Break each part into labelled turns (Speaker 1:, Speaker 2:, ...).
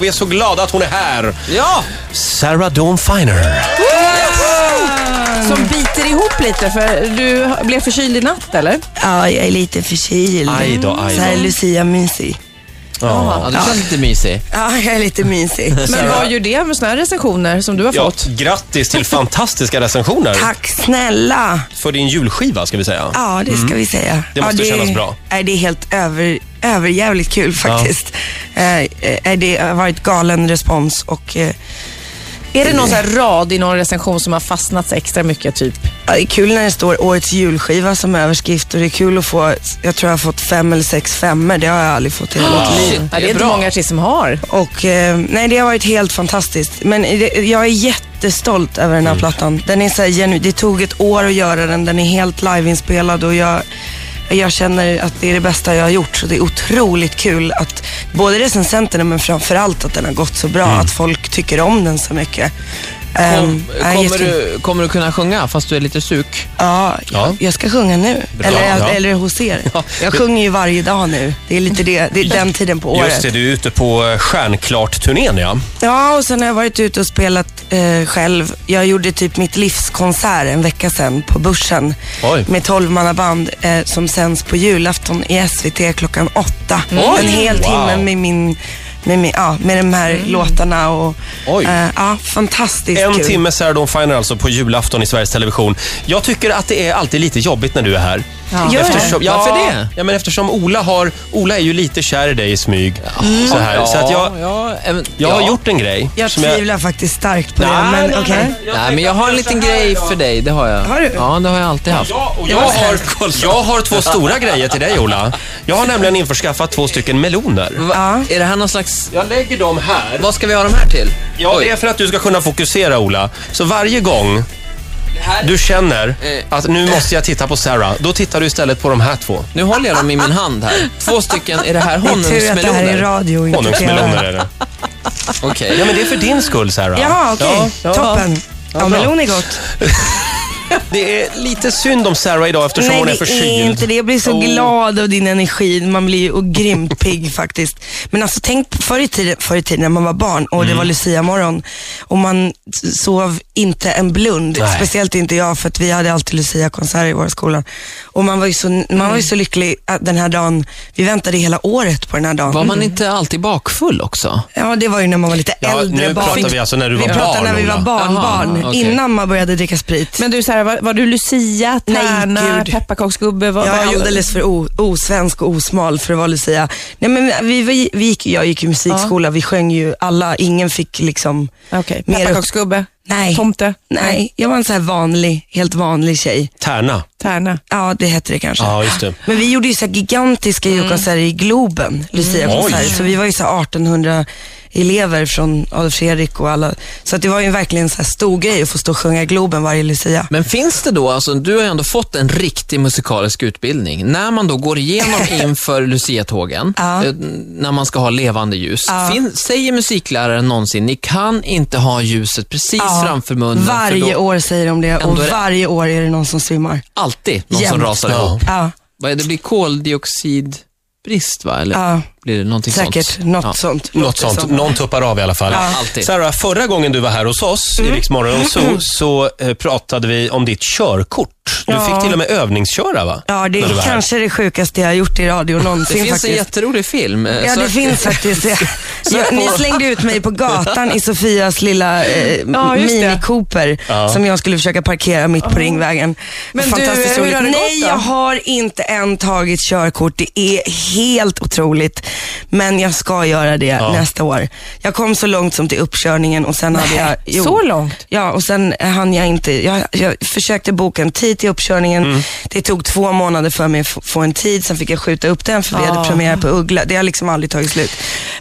Speaker 1: vi är så glada att hon är här.
Speaker 2: Ja!
Speaker 1: Sarah Dawn Finer.
Speaker 3: Som biter ihop lite för du blev förkyld i natt eller?
Speaker 4: Ja, jag är lite förkyld.
Speaker 1: Aj då, aj
Speaker 4: Så här
Speaker 1: då.
Speaker 4: Lucia-mysig.
Speaker 2: Ja, du känns lite mysig.
Speaker 4: Ja, jag är lite mysig.
Speaker 3: Men vad gör det med såna här recensioner som du har
Speaker 1: Ja,
Speaker 3: fått?
Speaker 1: grattis till fantastiska recensioner
Speaker 4: Tack snälla.
Speaker 1: för din julskiva ska vi säga.
Speaker 4: Ja, det ska vi säga.
Speaker 1: Mm. Det måste
Speaker 4: ja,
Speaker 1: kännas bra.
Speaker 4: Nej, det är helt över, överjävligt kul faktiskt. Eh, eh, det har varit galen respons och eh,
Speaker 3: Är det någon så här rad i någon recension som har fastnat extra mycket typ?
Speaker 4: ja, det är kul när det står årets julskiva som överskrift och det är kul att få, jag tror jag har fått fem eller sex femmor. Det har jag aldrig fått i hela
Speaker 1: Ah.
Speaker 4: mitt liv.
Speaker 3: Ja, det är inte
Speaker 2: bra.
Speaker 3: många artister som har.
Speaker 4: Och, eh, nej, det har varit helt fantastiskt. Men det, jag är jättestolt över den här
Speaker 1: Mm.
Speaker 4: plattan. Den är så här, genu- det tog ett år att göra den. Den är helt liveinspelad och jag, jag känner att det är det bästa jag har gjort. Så det är otroligt kul att både recensenterna men framförallt att den har gått så bra.
Speaker 1: Mm.
Speaker 4: Att folk tycker om den så mycket. Ehm,
Speaker 2: Kom,
Speaker 4: nej,
Speaker 2: kommer,
Speaker 4: jättekul.
Speaker 2: du, kommer du kunna sjunga fast du är lite suk?
Speaker 4: Ja,
Speaker 1: Ja.
Speaker 4: Jag, jag ska sjunga nu.
Speaker 1: Bra.
Speaker 4: Eller,
Speaker 1: Ja.
Speaker 4: eller hos er. Jag sjunger ju varje dag nu. Det är lite det, det är den tiden på året.
Speaker 1: Just det, du är ute på eh, Stjärnklart-turnén ja.
Speaker 4: Ja, och sen har jag varit ute och spelat eh, själv. Jag gjorde typ mitt livskonsert en vecka sedan på Börsen
Speaker 1: Oj.
Speaker 4: med tolvmannaband eh, som sänds på julafton i SVT klockan åtta. En hel
Speaker 1: Wow. Mm.
Speaker 4: timme med min med, min, ja, med de här låtarna och
Speaker 1: Oj.
Speaker 4: eh, ja, fantastiskt
Speaker 1: En
Speaker 4: kul.
Speaker 1: timme Sarah Dawn Finer alltså på julafton i Sveriges Television. Jag tycker att det är alltid lite jobbigt när du är här.
Speaker 3: Ja.
Speaker 4: Gör det?
Speaker 1: Eftersom, ja,
Speaker 2: Varför det?
Speaker 1: Ja, men eftersom Ola, har, Ola är ju lite kär i dig i smyg. Så här. Så att jag,
Speaker 2: ja, även-
Speaker 1: jag har
Speaker 2: ja.
Speaker 1: gjort en grej.
Speaker 4: Jag
Speaker 1: som jag,
Speaker 4: tvivlar faktiskt starkt på det,
Speaker 1: Nej,
Speaker 4: men
Speaker 1: nej,
Speaker 4: okej.
Speaker 1: nej.
Speaker 2: Nej, men jag har en liten grej för dig, det har jag.
Speaker 4: Har du?
Speaker 2: Ja, det har jag alltid haft.
Speaker 1: Ja, och jag, har, jag har två stora grejer till dig Ola. Jag har nämligen införskaffat två stycken meloner.
Speaker 2: Va, Är det här någon slags...
Speaker 1: Jag lägger dem här.
Speaker 2: Vad ska vi ha de här till?
Speaker 1: Ja,
Speaker 2: Oj.
Speaker 1: det är för att du ska kunna fokusera Ola. Så varje gång du känner att nu måste jag titta på Sarah, då tittar du istället på de här två.
Speaker 2: Nu håller jag dem i min hand här. Två stycken, är det här
Speaker 4: Det är tur att det här är
Speaker 2: honungsmeloner?
Speaker 4: radio och inte
Speaker 1: Honungsmeloner
Speaker 4: tv.
Speaker 1: är det.
Speaker 2: Okej.
Speaker 1: Ja, men det är för din skull Sarah.
Speaker 4: Jaha, okej.
Speaker 1: Ja, ja.
Speaker 4: Toppen. Ja,
Speaker 1: bra.
Speaker 4: melon är gott.
Speaker 1: Det är lite synd om Sarah idag eftersom
Speaker 4: Nej,
Speaker 1: hon är
Speaker 4: det är
Speaker 1: förkyld.
Speaker 4: inte det. Jag blir så
Speaker 1: Oh.
Speaker 4: glad av din energi. Man blir ju och grymt pigg faktiskt. Men alltså tänk på förr i tiden, förr i tiden när man var barn och
Speaker 1: Mm.
Speaker 4: det var Lucia morgon och man s- sov inte en blund.
Speaker 1: Nej.
Speaker 4: Speciellt inte jag för att vi hade alltid Lucia-konserter i vår skola. Och man var ju så, man var
Speaker 1: Mm.
Speaker 4: ju så lycklig att den här dagen. Vi väntade hela året på den här dagen.
Speaker 2: Var man inte alltid bakfull också?
Speaker 4: Ja, det var ju när man var lite
Speaker 1: Ja,
Speaker 4: äldre
Speaker 1: nu
Speaker 4: barn.
Speaker 1: pratar vi alltså när du var
Speaker 4: vi pratar
Speaker 1: barn,
Speaker 4: när vi var
Speaker 1: Ola.
Speaker 4: barnbarn,
Speaker 2: Jaha, okej.
Speaker 4: innan man började dricka sprit.
Speaker 3: Men du, så här, var, var du Lucia,
Speaker 4: Nej,
Speaker 3: tärna,
Speaker 4: gud.
Speaker 3: pepparkaksgubbe? Vad,
Speaker 4: Jag
Speaker 3: vad-
Speaker 4: är alldeles för o- osvensk och osmal för att vara Lucia. Nej, men vi, vi, vi gick, jag gick ju musikskola, vi sjöng ju alla, ingen fick liksom
Speaker 3: Okej,
Speaker 4: mer upp-
Speaker 3: pepparkaksgubbe,
Speaker 4: Nej.
Speaker 3: tomte,
Speaker 4: Nej, jag var en så här vanlig, helt vanlig tjej.
Speaker 1: Tärna.
Speaker 3: tärna.
Speaker 4: Ja, det hette det kanske.
Speaker 1: Ja, just det.
Speaker 4: Men vi gjorde ju så här gigantiska
Speaker 3: Mm.
Speaker 4: julkonserter i Globen, Lucia-konserter.
Speaker 1: Oj.
Speaker 4: Så vi var ju så här 1800 elever från Adolf Fredrik och alla. Så att det var ju verkligen så här stor grej att få stå och sjunga Globen varje Lucia.
Speaker 2: Men finns det då, alltså, du har ju ändå fått en riktig musikalisk utbildning. När man då går igenom inför Luciatågen,
Speaker 4: Ja.
Speaker 2: eh, när man ska ha levande ljus, fin, säger musikläraren någonsin, ni kan inte ha ljuset precis
Speaker 4: Ja.
Speaker 2: framför munnen. för
Speaker 4: Varje
Speaker 2: då,
Speaker 4: år säger de det och
Speaker 2: Ändå är det-
Speaker 4: varje år är det någon som svimmar.
Speaker 2: Alltid någon som
Speaker 4: Jämt.
Speaker 2: rasar
Speaker 1: Ja.
Speaker 2: ihop.
Speaker 4: Ja.
Speaker 2: Vad är det, det blir koldioxidbrist va? Eller
Speaker 4: Ja.
Speaker 2: blir det någonting
Speaker 4: Säkert,
Speaker 2: sånt?
Speaker 4: något
Speaker 2: Ja.
Speaker 4: sånt.
Speaker 1: Något sånt. Någon tuppar av i alla fall.
Speaker 2: Ja, alltid.
Speaker 1: Sarah, förra gången du var här hos oss
Speaker 4: Mm.
Speaker 1: i Rix Morgon så, så eh, pratade vi om ditt körkort. Du
Speaker 4: Ja.
Speaker 1: fick till och med övningsköra va?
Speaker 4: Ja, det
Speaker 1: När du var
Speaker 4: är
Speaker 1: här.
Speaker 4: kanske det sjukaste jag har gjort i radio
Speaker 2: Det
Speaker 4: någonsin
Speaker 2: finns en
Speaker 4: faktiskt.
Speaker 2: jätterolig film. eh,
Speaker 4: Ja, det
Speaker 2: sök-
Speaker 4: finns faktiskt. Jag, jag, ni slängde ut mig på gatan i Sofias lilla eh,
Speaker 3: Ja, just det.
Speaker 4: Mini Cooper som jag skulle försöka parkera mitt på Ringvägen.
Speaker 3: Men du,
Speaker 4: Fantastiskt
Speaker 3: hur
Speaker 4: roligt.
Speaker 3: har det gått
Speaker 4: Nej,
Speaker 3: då?
Speaker 4: jag har inte än tagit körkort. Det är helt otroligt. Men jag ska göra det nästa år. Jag kom så långt som till uppkörningen och sen hade jag... jo.
Speaker 3: så långt?
Speaker 4: Ja, och sen hann jag inte. Jag, jag försökte boka en tid till uppkörningen.
Speaker 1: Mm.
Speaker 4: Det tog två månader för mig att f- få en tid, sen fick jag skjuta upp den för vi
Speaker 3: Ah.
Speaker 4: hade premiär på Uggla. Det har liksom aldrig tagit slut.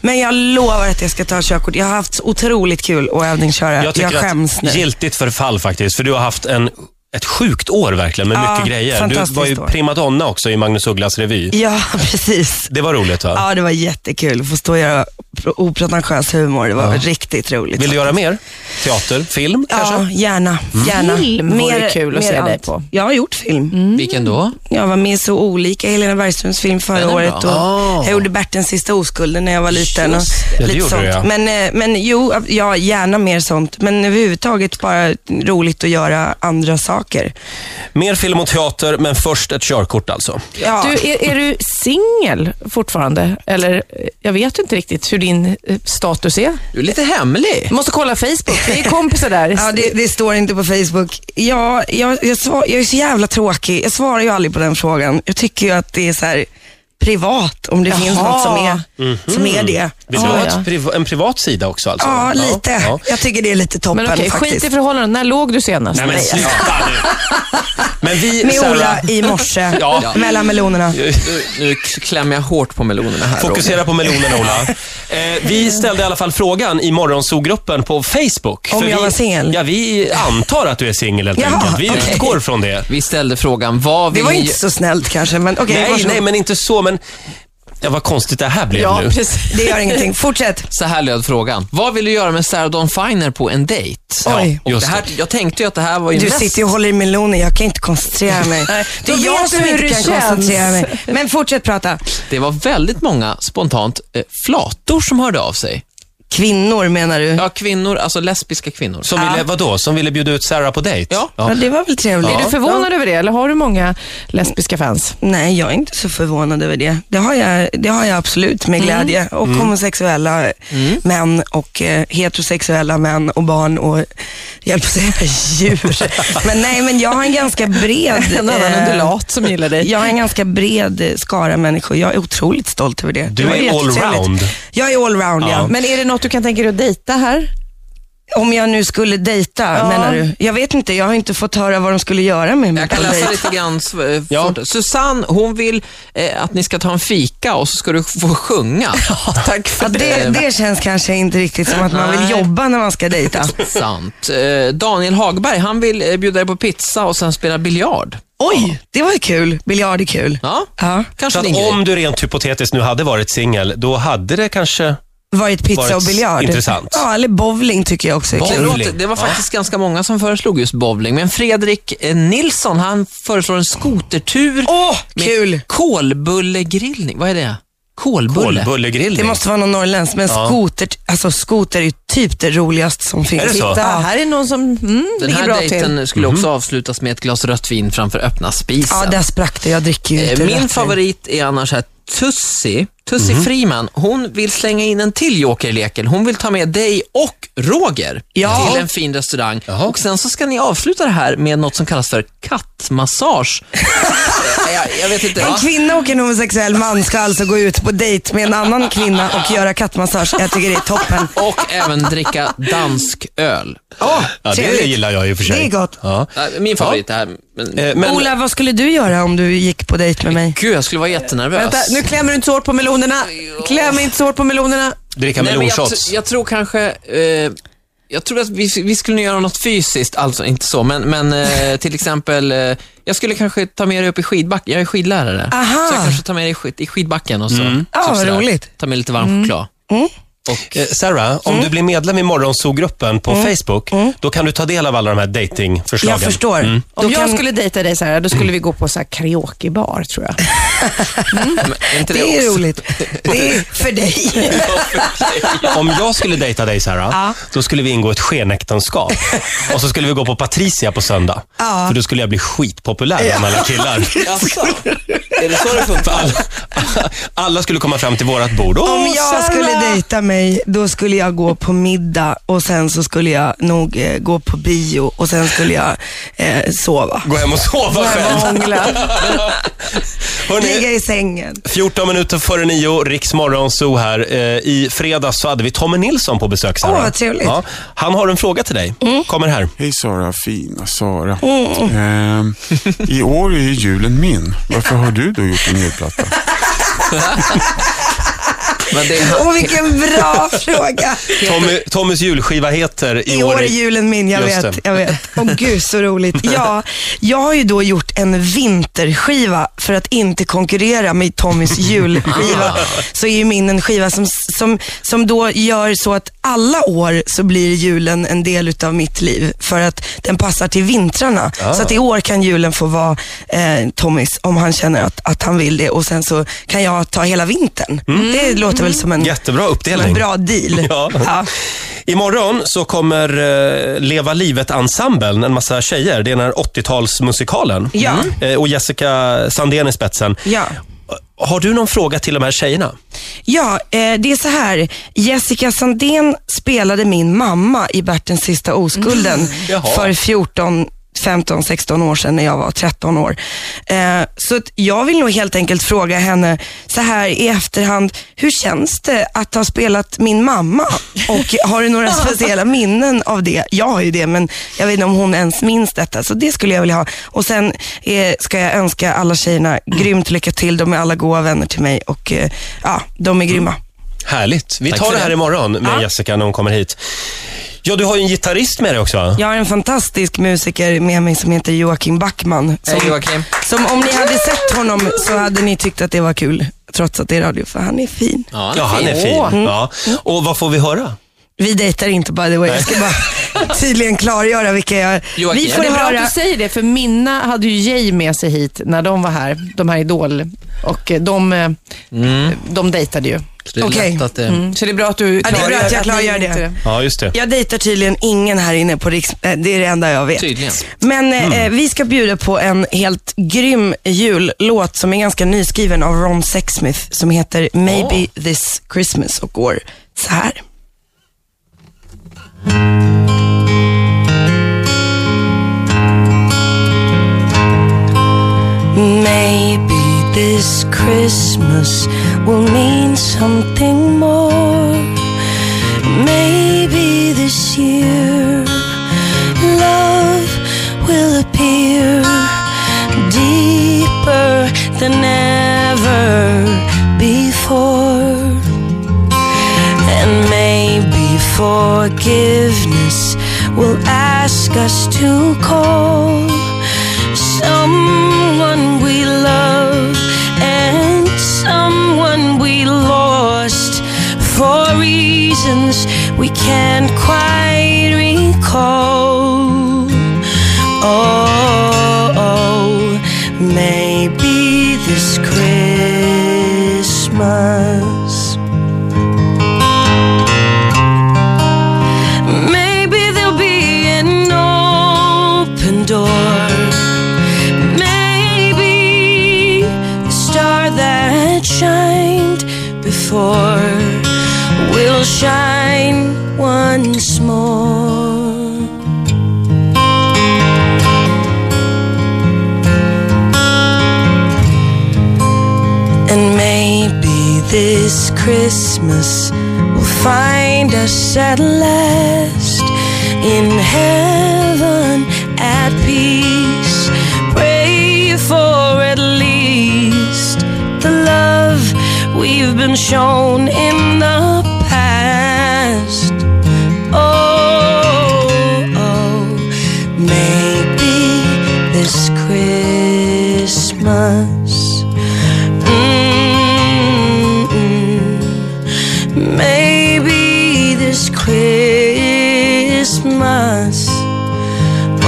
Speaker 4: Men jag lovar att jag ska ta körkort. Jag har haft så otroligt kul att övningsköra.
Speaker 1: Jag
Speaker 4: Jag,
Speaker 1: tycker
Speaker 4: skäms nu.
Speaker 1: att giltigt förfall faktiskt, för du har haft en, ett sjukt år verkligen med
Speaker 4: Ja,
Speaker 1: mycket grejer. Du
Speaker 4: fantastiskt
Speaker 1: var ju
Speaker 4: år.
Speaker 1: primadonna också i Magnus Ugglas revy.
Speaker 4: Ja, precis.
Speaker 1: Det var roligt va?
Speaker 4: Ja, det var jättekul att få stå och göra pr- opretentiös humor. Det var riktigt roligt.
Speaker 1: Vill du göra mer? Teater? Film
Speaker 4: Ja,
Speaker 1: kanske?
Speaker 4: gärna. gärna.
Speaker 3: Mm. Film vore kul att se dig på.
Speaker 4: Jag har gjort film.
Speaker 2: Mm. Vilken då?
Speaker 4: Jag var med i så olika Helena Bergströms film
Speaker 2: Den
Speaker 4: förra
Speaker 2: är
Speaker 4: året.
Speaker 2: bra.
Speaker 4: Och Jag gjorde Bertens sista oskulden när jag var liten. Och
Speaker 2: Just
Speaker 1: det. Ja, det
Speaker 4: lite
Speaker 1: gjorde
Speaker 4: sånt.
Speaker 1: du, ja.
Speaker 4: men, eh, men jo, ja, gärna mer sånt. Men överhuvudtaget bara roligt att göra andra saker.
Speaker 1: Mer film och teater, men först ett körkort alltså.
Speaker 4: Ja.
Speaker 3: Du, är, är du singel fortfarande? Eller, eh, jag vet inte riktigt hur din eh, status är.
Speaker 2: Du är lite hemlig.
Speaker 3: Du måste kolla Facebook, vi är kompisar där.
Speaker 4: Ja, det, det står inte på Facebook. Ja, jag, jag, svar, jag är så jävla tråkig. Jag svarar ju aldrig på den frågan. Jag tycker ju att det är så här privat, om det
Speaker 3: Jaha.
Speaker 4: finns något som är, som är det.
Speaker 1: Vill
Speaker 3: Ja,
Speaker 1: du ha
Speaker 3: ja.
Speaker 1: ett priv- en privat sida också? Alltså?
Speaker 4: Ja, lite.
Speaker 1: ja.
Speaker 4: Jag tycker det är lite toppen
Speaker 3: Men okej,
Speaker 4: faktiskt.
Speaker 3: skit i förhållanden. När låg du senast?
Speaker 1: Nej men
Speaker 3: Nej, alltså,
Speaker 1: sluta nu. Men vi,
Speaker 4: Med
Speaker 1: Sarah,
Speaker 4: Ola i morse,
Speaker 1: Ja.
Speaker 4: mellan melonerna.
Speaker 2: Nu, nu klämmer jag hårt på melonerna här.
Speaker 1: Fokusera på melonerna Ola. Eh,
Speaker 4: Mm.
Speaker 1: vi ställde i alla fall frågan i morgonsogruppen på Facebook.
Speaker 4: Om
Speaker 1: För
Speaker 4: jag
Speaker 1: vi-
Speaker 4: var singel?
Speaker 1: Ja, vi antar att du är singel helt
Speaker 4: Jaha,
Speaker 1: enkelt. Vi
Speaker 4: okej.
Speaker 1: utgår från det.
Speaker 2: Vi ställde frågan, vad
Speaker 4: Det
Speaker 2: vill
Speaker 4: var
Speaker 2: ni...
Speaker 4: inte så snällt kanske, men okej.
Speaker 1: Nej,
Speaker 4: varsågod.
Speaker 1: nej, men inte så. Men ja, vad konstigt det här blev
Speaker 3: Ja,
Speaker 1: nu.
Speaker 3: precis.
Speaker 4: Det gör ingenting. Fortsätt.
Speaker 2: Så här löd frågan. Vad vill du göra med Sarah Dawn Finer på en dejt?
Speaker 4: Oj.
Speaker 2: Och det här, jag tänkte ju att det här var ju
Speaker 4: Du
Speaker 2: mest...
Speaker 4: sitter ju och håller i meloner, jag kan inte koncentrera mig. Det
Speaker 3: då
Speaker 4: är jag
Speaker 3: vet
Speaker 4: som
Speaker 3: du hur
Speaker 4: inte
Speaker 3: det
Speaker 4: kan
Speaker 3: känns.
Speaker 4: koncentrera mig. Men fortsätt prata.
Speaker 2: Det var väldigt många spontant eh, flator som hörde av sig.
Speaker 4: Kvinnor menar du?
Speaker 2: Ja, kvinnor, alltså lesbiska kvinnor.
Speaker 1: Som ville, vadå? Som ville bjuda ut Sarah på dejt?
Speaker 2: Ja.
Speaker 4: Ja, det var väl trevligt.
Speaker 3: Är du förvånad över det eller har du många lesbiska fans?
Speaker 4: Nej, jag är inte så förvånad över det. Det har jag, det har jag absolut
Speaker 3: Mm.
Speaker 4: med glädje. Och homosexuella eh, män och eh, heterosexuella män och barn och, jag höll på att säga djur. men nej, men jag har en ganska bred...
Speaker 3: En annan
Speaker 4: eh,
Speaker 3: undulat som gillar dig.
Speaker 4: Jag har en ganska bred eh, skara människor. Jag är otroligt stolt över det.
Speaker 1: Du
Speaker 4: Det var
Speaker 1: är
Speaker 4: jättetrevligt.
Speaker 1: allround.
Speaker 4: Jag är allround, ja.
Speaker 1: Ja.
Speaker 4: Men
Speaker 3: Men är det något du kan tänka dig att dejta här?
Speaker 4: om jag nu skulle dejta,
Speaker 3: Ja.
Speaker 4: menar du? Jag vet inte, jag har inte fått höra vad de skulle göra med mig
Speaker 2: Jag
Speaker 4: på
Speaker 2: kan
Speaker 4: en
Speaker 2: läsa
Speaker 4: dejt.
Speaker 2: lite grann eh,
Speaker 1: Ja.
Speaker 2: fort. Susanne, hon vill eh, att ni ska ta en fika och så ska du få sjunga. tack för
Speaker 4: Ja, det, det känns kanske inte riktigt som att man vill
Speaker 2: Nej.
Speaker 4: jobba när man ska dejta.
Speaker 2: Sant. Eh, Daniel Hagberg, han vill eh, bjuda dig på pizza och sen spela biljard.
Speaker 4: Oj, det var kul. Biljard är kul.
Speaker 2: Ja,
Speaker 4: Ja.
Speaker 1: Så
Speaker 2: kanske din
Speaker 1: att
Speaker 2: grej.
Speaker 1: om du rent hypotetiskt nu hade varit singel, då hade det kanske...
Speaker 4: Varit pizza
Speaker 1: Varit
Speaker 4: och biljard.
Speaker 1: intressant.
Speaker 4: Ja, eller bowling tycker jag också är
Speaker 2: Det,
Speaker 4: kul.
Speaker 1: Bowling.
Speaker 2: låter, det var faktiskt ganska många som föreslog just bowling, men Fredrik eh, Nilsson, han föreslår en skotertur
Speaker 4: Åh, kul!
Speaker 2: med kolbullegrillning. Vad är det? Kolbulle?
Speaker 1: Kolbullegrillning.
Speaker 4: Det måste vara någon norrländsk, men skoter, alltså skoter är ju typ det roligaste som finns.
Speaker 1: Är det så?
Speaker 4: Titta,
Speaker 3: Ja,
Speaker 4: här-
Speaker 3: här är någon som mm,
Speaker 2: Den
Speaker 3: ligger
Speaker 2: här
Speaker 3: bra till.
Speaker 2: dejten skulle också avslutas med ett glas rött vin framför öppna spisen.
Speaker 4: Ja, där sprack det. Jag dricker ju
Speaker 2: Eh,
Speaker 4: inte rött
Speaker 2: Min
Speaker 4: vin.
Speaker 2: favorit är annars här Tussi, Tussi Friman, hon vill slänga in en till joker i leken. Hon vill ta med dig och Roger
Speaker 4: Ja.
Speaker 2: till en fin restaurang. Och Sen så ska ni avsluta det här med något som kallas för kattmassage. Eh, jag, jag vet inte.
Speaker 4: En
Speaker 2: va?
Speaker 4: kvinna och en homosexuell man ska alltså gå ut på dejt med en annan kvinna och göra kattmassage. Jag tycker det är toppen.
Speaker 2: Och även dricka dansk öl.
Speaker 4: Åh,
Speaker 1: ja, det
Speaker 4: trevligt.
Speaker 1: gillar jag ju för sig.
Speaker 4: Det är gott.
Speaker 1: Ja.
Speaker 2: Eh, Min favorit är här. Men, Oh,
Speaker 1: Eh, Men,
Speaker 4: Ola, vad skulle du göra om du gick på dejt med mig?
Speaker 2: Gud, jag skulle vara jättenervös.
Speaker 3: Vänta, nu klämmer du inte så hårt på melonerna. Kläm inte så hårt på melonerna.
Speaker 1: dricka
Speaker 2: Nej, men jag,
Speaker 1: melonshots.
Speaker 2: tr- jag tror kanske, eh, jag tror att vi, vi skulle göra något fysiskt, alltså inte så, men, men eh, till exempel, eh, jag skulle kanske ta med dig upp i skidbacken, jag är skidlärare.
Speaker 4: Aha.
Speaker 2: Så jag kanske tar med dig i, skid, i skidbacken och så. Typ
Speaker 4: Ja, vad
Speaker 2: sådär.
Speaker 4: roligt. Mm.
Speaker 2: Ta med lite varm choklad.
Speaker 1: Eh, Sarah, om du blir medlem i Morgonzoo-gruppen på Facebook, då kan du ta del av alla de här datingförslagen.
Speaker 4: Mm. Jag förstår. Då
Speaker 3: Om jag
Speaker 4: kan-
Speaker 3: skulle dejta dig så här, då skulle vi gå på så här karaokebar tror jag.
Speaker 2: Är inte
Speaker 4: Det är
Speaker 2: också-
Speaker 4: roligt. Det är för dig.
Speaker 1: Om jag skulle dejta dig Sarah, då skulle vi ingå ett skenäktenskap. Och så skulle vi gå på Patricia på söndag. För då skulle jag bli skitpopulär bland alla killar.
Speaker 2: Jaså? är det så det funkar?
Speaker 1: För alla, alla skulle komma fram till vårat bord. Åh,
Speaker 4: Om jag
Speaker 1: Sarah!
Speaker 4: skulle dejta mig, då skulle jag gå på middag och sen så skulle jag nog eh, gå på bio och sen skulle jag eh, sova.
Speaker 1: Gå hem och sova själv.
Speaker 4: Ligga
Speaker 1: Hörrni,
Speaker 4: i sängen.
Speaker 1: 14 minuter före nio, Riks Morgonzoo här. Eh, I fredags så hade vi Tommy Nilsson på besök Sarah.
Speaker 4: Åh, vad trevligt. Mm.
Speaker 1: Han har en fråga till dig. Kommer här.
Speaker 5: Hej Sara, fina Sara. Ehm, I år är ju julen min. Varför har du då gjort en julplatta?
Speaker 2: Men det är
Speaker 4: Åh, vilken bra fråga.
Speaker 1: Tommy, Tommys julskiva heter
Speaker 4: I år är julen min, jag
Speaker 1: Just
Speaker 4: vet.
Speaker 1: det.
Speaker 4: Jag vet. Åh gud så roligt. Ja, jag har ju då gjort en vinterskiva för att inte konkurrera med Tommys julskiva. Så är ju min en skiva som, som, som då gör så att alla år så blir julen en del utav mitt liv. För att den passar till vintrarna. Så att i år kan julen få vara eh, Tommys om han känner att, att han vill det. Och sen så kan jag ta hela vintern. Det låter väl som en,
Speaker 1: Jättebra
Speaker 4: som en
Speaker 1: uppdelning.
Speaker 4: bra deal.
Speaker 1: Ja.
Speaker 4: Ja.
Speaker 1: Imorgon så kommer eh, Leva livet-ensemblen, en massa tjejer. Det är den här 80-talsmusikalen.
Speaker 4: Ja.
Speaker 1: Eh, och Jessica Sandén i spetsen.
Speaker 4: Ja.
Speaker 1: Har du någon fråga till de här tjejerna?
Speaker 4: Ja, eh, det är så här. Jessica Sandén spelade min mamma i Bertens sista oskulden
Speaker 1: Jaha.
Speaker 4: för 14 15, 16 år sedan när jag var 13 år. Eh, så att jag vill nog helt enkelt fråga henne så här i efterhand, hur känns det att ha spelat min mamma? Och har du några speciella minnen av det? Jag har ju det, men jag vet inte om hon ens minns detta, så det skulle jag vilja ha. Och sen eh, ska jag önska alla tjejerna grymt lycka till. De är alla goda vänner till mig och eh, ja, de är grymma.
Speaker 1: Härligt. Vi
Speaker 2: Tack
Speaker 1: tar
Speaker 2: för
Speaker 1: det här
Speaker 2: det.
Speaker 1: imorgon med
Speaker 4: Ja.
Speaker 1: Jessica när hon kommer hit. Ja, du har ju en gitarrist med dig också. va?
Speaker 4: Jag har en fantastisk musiker med mig som heter Joakim Backman. Som,
Speaker 2: Hej Joakim.
Speaker 4: som om ni hade sett honom så hade ni tyckt att det var kul, trots att det är radio, för han är Mm. fin.
Speaker 1: Ja, han är fin. Ja. Och vad får vi höra?
Speaker 4: Vi dejtar inte by the way. Jag ska bara tydligen klargöra vilka jag...
Speaker 2: Joakim.
Speaker 4: Vi får
Speaker 3: Det är bra att
Speaker 4: höra...
Speaker 3: du säger det, för Minna hade ju Jay med sig hit när de var här, de här Idol. Och eh, de, eh, de dejtade ju.
Speaker 2: Mm. Det är
Speaker 4: Okej. Mm.
Speaker 2: lätt att eh, det...
Speaker 3: Mm, Så det är bra att du
Speaker 4: det är bra att jag klargör
Speaker 3: ni inte-
Speaker 4: det.
Speaker 1: Ja, just det.
Speaker 4: Jag dejtar tydligen ingen här inne på Riks... eh, Det är det enda jag vet.
Speaker 2: Tydligen.
Speaker 4: Men eh, eh, vi ska bjuda på en helt grym jullåt som är ganska nyskriven av Ron Sexsmith som heter Maybe This Christmas och går så här. Maybe this Christmas will mean something more. Maybe this year love will appear deeper than ever before. And maybe forgiveness will ask us to call someone we love and someone we lost for reasons we can't quite recall. Oh, maybe this Christmas. Maybe there'll be an open door. Maybe the star that shined before will shine once more. And maybe this Christmas will find us at last in heaven at peace. Pray for at least the love we've been shown in the past. Oh, oh maybe this Christmas. Mm-mm. Maybe this Christmas.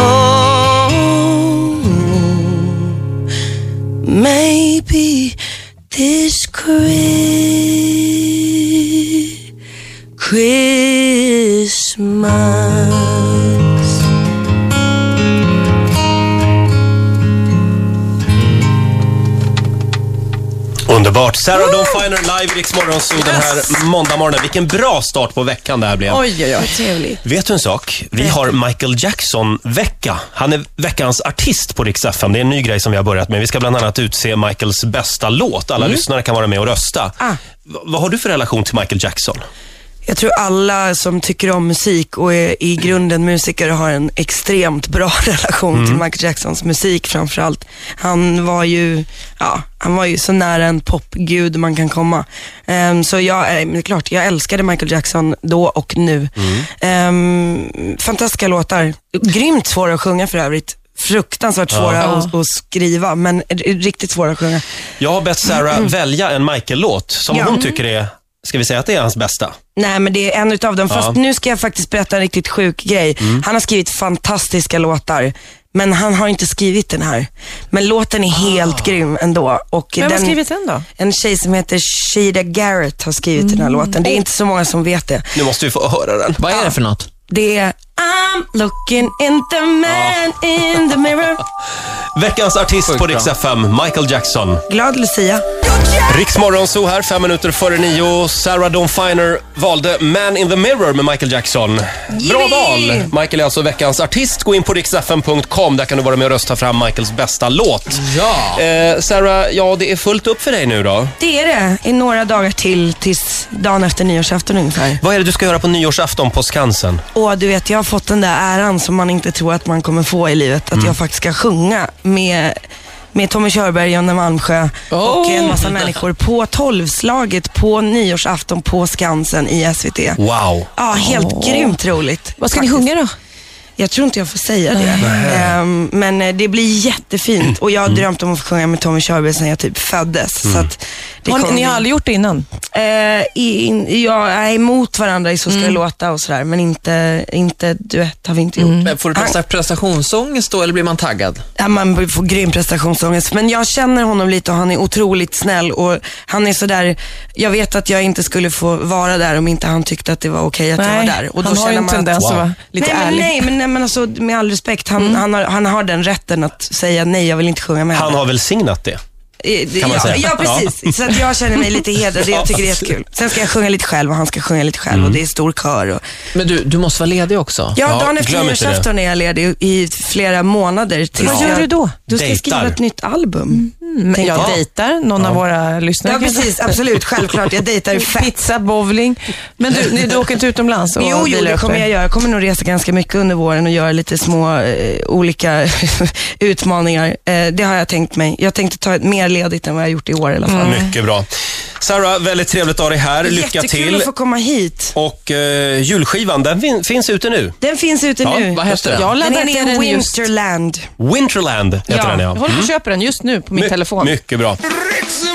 Speaker 4: Oh, maybe this Chri- Christmas.
Speaker 1: Underbart. Sarah Dawn Finer live i Rix Morgonzoo den här måndagmorgonen. Vilken bra start på veckan det här blev.
Speaker 3: Oj, oj, oj.
Speaker 1: Vet du en sak? Vi har Michael Jackson-vecka. Han är veckans artist på Rix FM. Det är en ny grej som vi har börjat med. Vi ska bland annat utse Michaels bästa låt. Alla lyssnare kan vara med och rösta.
Speaker 4: Ah.
Speaker 1: V- vad har du för relation till Michael Jackson?
Speaker 4: Jag tror alla som tycker om musik och är i grunden musiker har en extremt bra relation till Michael Jacksons musik framförallt. Han var ju, ja, han var ju så nära en popgud man kan komma. Ehm, så jag, eh, men det är klart, jag älskade Michael Jackson då och nu. Ehm, fantastiska låtar. Grymt svåra att sjunga för övrigt. Fruktansvärt svåra att, att skriva, men r- riktigt svåra att sjunga.
Speaker 1: Jag har bett Sarah välja en Michael-låt som
Speaker 4: Ja.
Speaker 1: hon tycker är, ska vi säga att det är hans bästa?
Speaker 4: Nej men det är en utav dem. Fast
Speaker 1: Ja.
Speaker 4: nu ska jag faktiskt berätta en riktigt sjuk grej. Han har skrivit fantastiska låtar, men han har inte skrivit den här. Men låten är helt grym ändå. Och
Speaker 3: Vem
Speaker 4: den,
Speaker 3: har skrivit den då?
Speaker 4: En tjej som heter Shida Garrett har skrivit den
Speaker 3: Mm.
Speaker 4: här låten. Det är inte så många som vet det.
Speaker 1: Nu måste vi få höra den.
Speaker 2: Vad är det för något?
Speaker 4: Det är I'm looking in the man in the mirror.
Speaker 1: Veckans artist
Speaker 2: Sjukt
Speaker 1: på
Speaker 2: bra.
Speaker 1: Rix FM, Michael Jackson.
Speaker 4: Glad Lucia.
Speaker 1: Riksmorgon så här, fem minuter före nio. Sarah Dawn Finer valde Man in the Mirror med Michael Jackson. Bra val! Michael är alltså veckans artist. Gå in på riksfm.com. Där kan du vara med och rösta fram Michaels bästa låt.
Speaker 2: Ja.
Speaker 1: Eh, Sarah, ja det är fullt upp för dig nu då.
Speaker 4: Det är det. I några dagar till, tills dagen efter nyårsafton ungefär.
Speaker 1: Vad är det du ska göra på nyårsafton på Skansen?
Speaker 4: Och du vet, jag har fått den där äran som man inte tror att man kommer få i livet.
Speaker 3: Mm.
Speaker 4: Att jag faktiskt ska sjunga med, med Tommy Körberg, Jonna Malmsjö och
Speaker 2: Oh!
Speaker 4: en massa människor på tolvslaget på nyårsafton på Skansen i SVT. Ja,
Speaker 1: Wow!
Speaker 4: helt grymt roligt.
Speaker 3: Vad ska
Speaker 4: faktiskt.
Speaker 3: ni sjunga då?
Speaker 4: Jag tror inte jag får säga det. Ehm, men eh, det blir jättefint och jag har
Speaker 3: Mm.
Speaker 4: drömt om att få sjunga med Tommy Körberg sedan jag typ föddes. Så att det
Speaker 3: Har
Speaker 4: kommer
Speaker 3: ni, ni
Speaker 4: bli-
Speaker 3: har aldrig gjort det innan?
Speaker 4: Eh, i- in, jag är emot varandra i Så
Speaker 3: Mm.
Speaker 4: ska det låta och sådär, men inte, inte duett har vi inte gjort.
Speaker 3: Mm.
Speaker 2: Men får du presta- prestationsångest då, eller blir man taggad?
Speaker 4: Ja, man får grym prestationsångest. Men jag känner honom lite och han är otroligt snäll. Och han är sådär, jag vet att jag inte skulle få vara där om inte han tyckte att det var okej att jag var där. Och
Speaker 3: han har ju en
Speaker 4: att-
Speaker 3: tendens att
Speaker 1: Wow.
Speaker 3: vara lite
Speaker 4: nej, men,
Speaker 3: ärlig. Mm.
Speaker 4: nej, men, nej, men alltså, med all respekt, han, han, har, han har den rätten att säga nej, jag vill inte sjunga med.
Speaker 1: Han
Speaker 4: henne."
Speaker 1: har välsignat det.
Speaker 4: Eh, det-
Speaker 1: kan man
Speaker 4: ja,
Speaker 1: säga.
Speaker 4: ja, precis. Så att jag känner mig lite hedrad och jag tycker det är jättekul. Sen ska jag sjunga lite själv och han ska sjunga lite själv och det är stor kör. Och,
Speaker 2: Men du, du måste vara ledig också.
Speaker 4: Mm. Ja,
Speaker 1: Ja,
Speaker 4: dagen efter
Speaker 1: glöm inte det.
Speaker 4: nyårsafton är jag ledig i flera månader. tills
Speaker 3: Vad gör
Speaker 4: jag-
Speaker 3: du då?
Speaker 4: Du ska
Speaker 1: Dejtar.
Speaker 4: skriva ett nytt album. Mm.
Speaker 3: Men
Speaker 4: tänkte
Speaker 3: jag
Speaker 4: jag.
Speaker 3: Mm, dejtar någon av våra lyssnare.
Speaker 4: Ja,
Speaker 3: kanske.
Speaker 4: precis. Absolut. Självklart. Jag dejtar ju fett.
Speaker 3: Pizza, bowling. Men du, ni, du åker inte utomlands och
Speaker 4: Jo, jo,
Speaker 3: vilar
Speaker 4: det
Speaker 3: upp
Speaker 4: kommer
Speaker 3: er?
Speaker 4: jag göra. Jag kommer nog resa ganska mycket under våren och göra lite små eh, olika utmaningar. Eh, det har jag tänkt mig. Jag tänkte ta ett mer ledigt än vad jag gjort i år i alla fall. Mm.
Speaker 1: Mycket bra. Sarah, väldigt trevligt att ha dig här. Lycka
Speaker 4: Jättekul
Speaker 1: till.
Speaker 4: att få komma hit.
Speaker 1: Och eh, julskivan, den fin- finns ute nu.
Speaker 4: Den finns ute
Speaker 1: Ja,
Speaker 4: nu.
Speaker 2: Vad heter den?
Speaker 3: Jag
Speaker 4: Den
Speaker 3: laddar ner
Speaker 4: heter
Speaker 3: den just.
Speaker 4: Winterland.
Speaker 1: Winterland heter
Speaker 3: Ja,
Speaker 1: den
Speaker 3: jag
Speaker 1: ja. Mm.
Speaker 3: håller på att köpa den just nu på min
Speaker 1: My-
Speaker 3: telefon.
Speaker 1: Mycket bra.
Speaker 5: Riks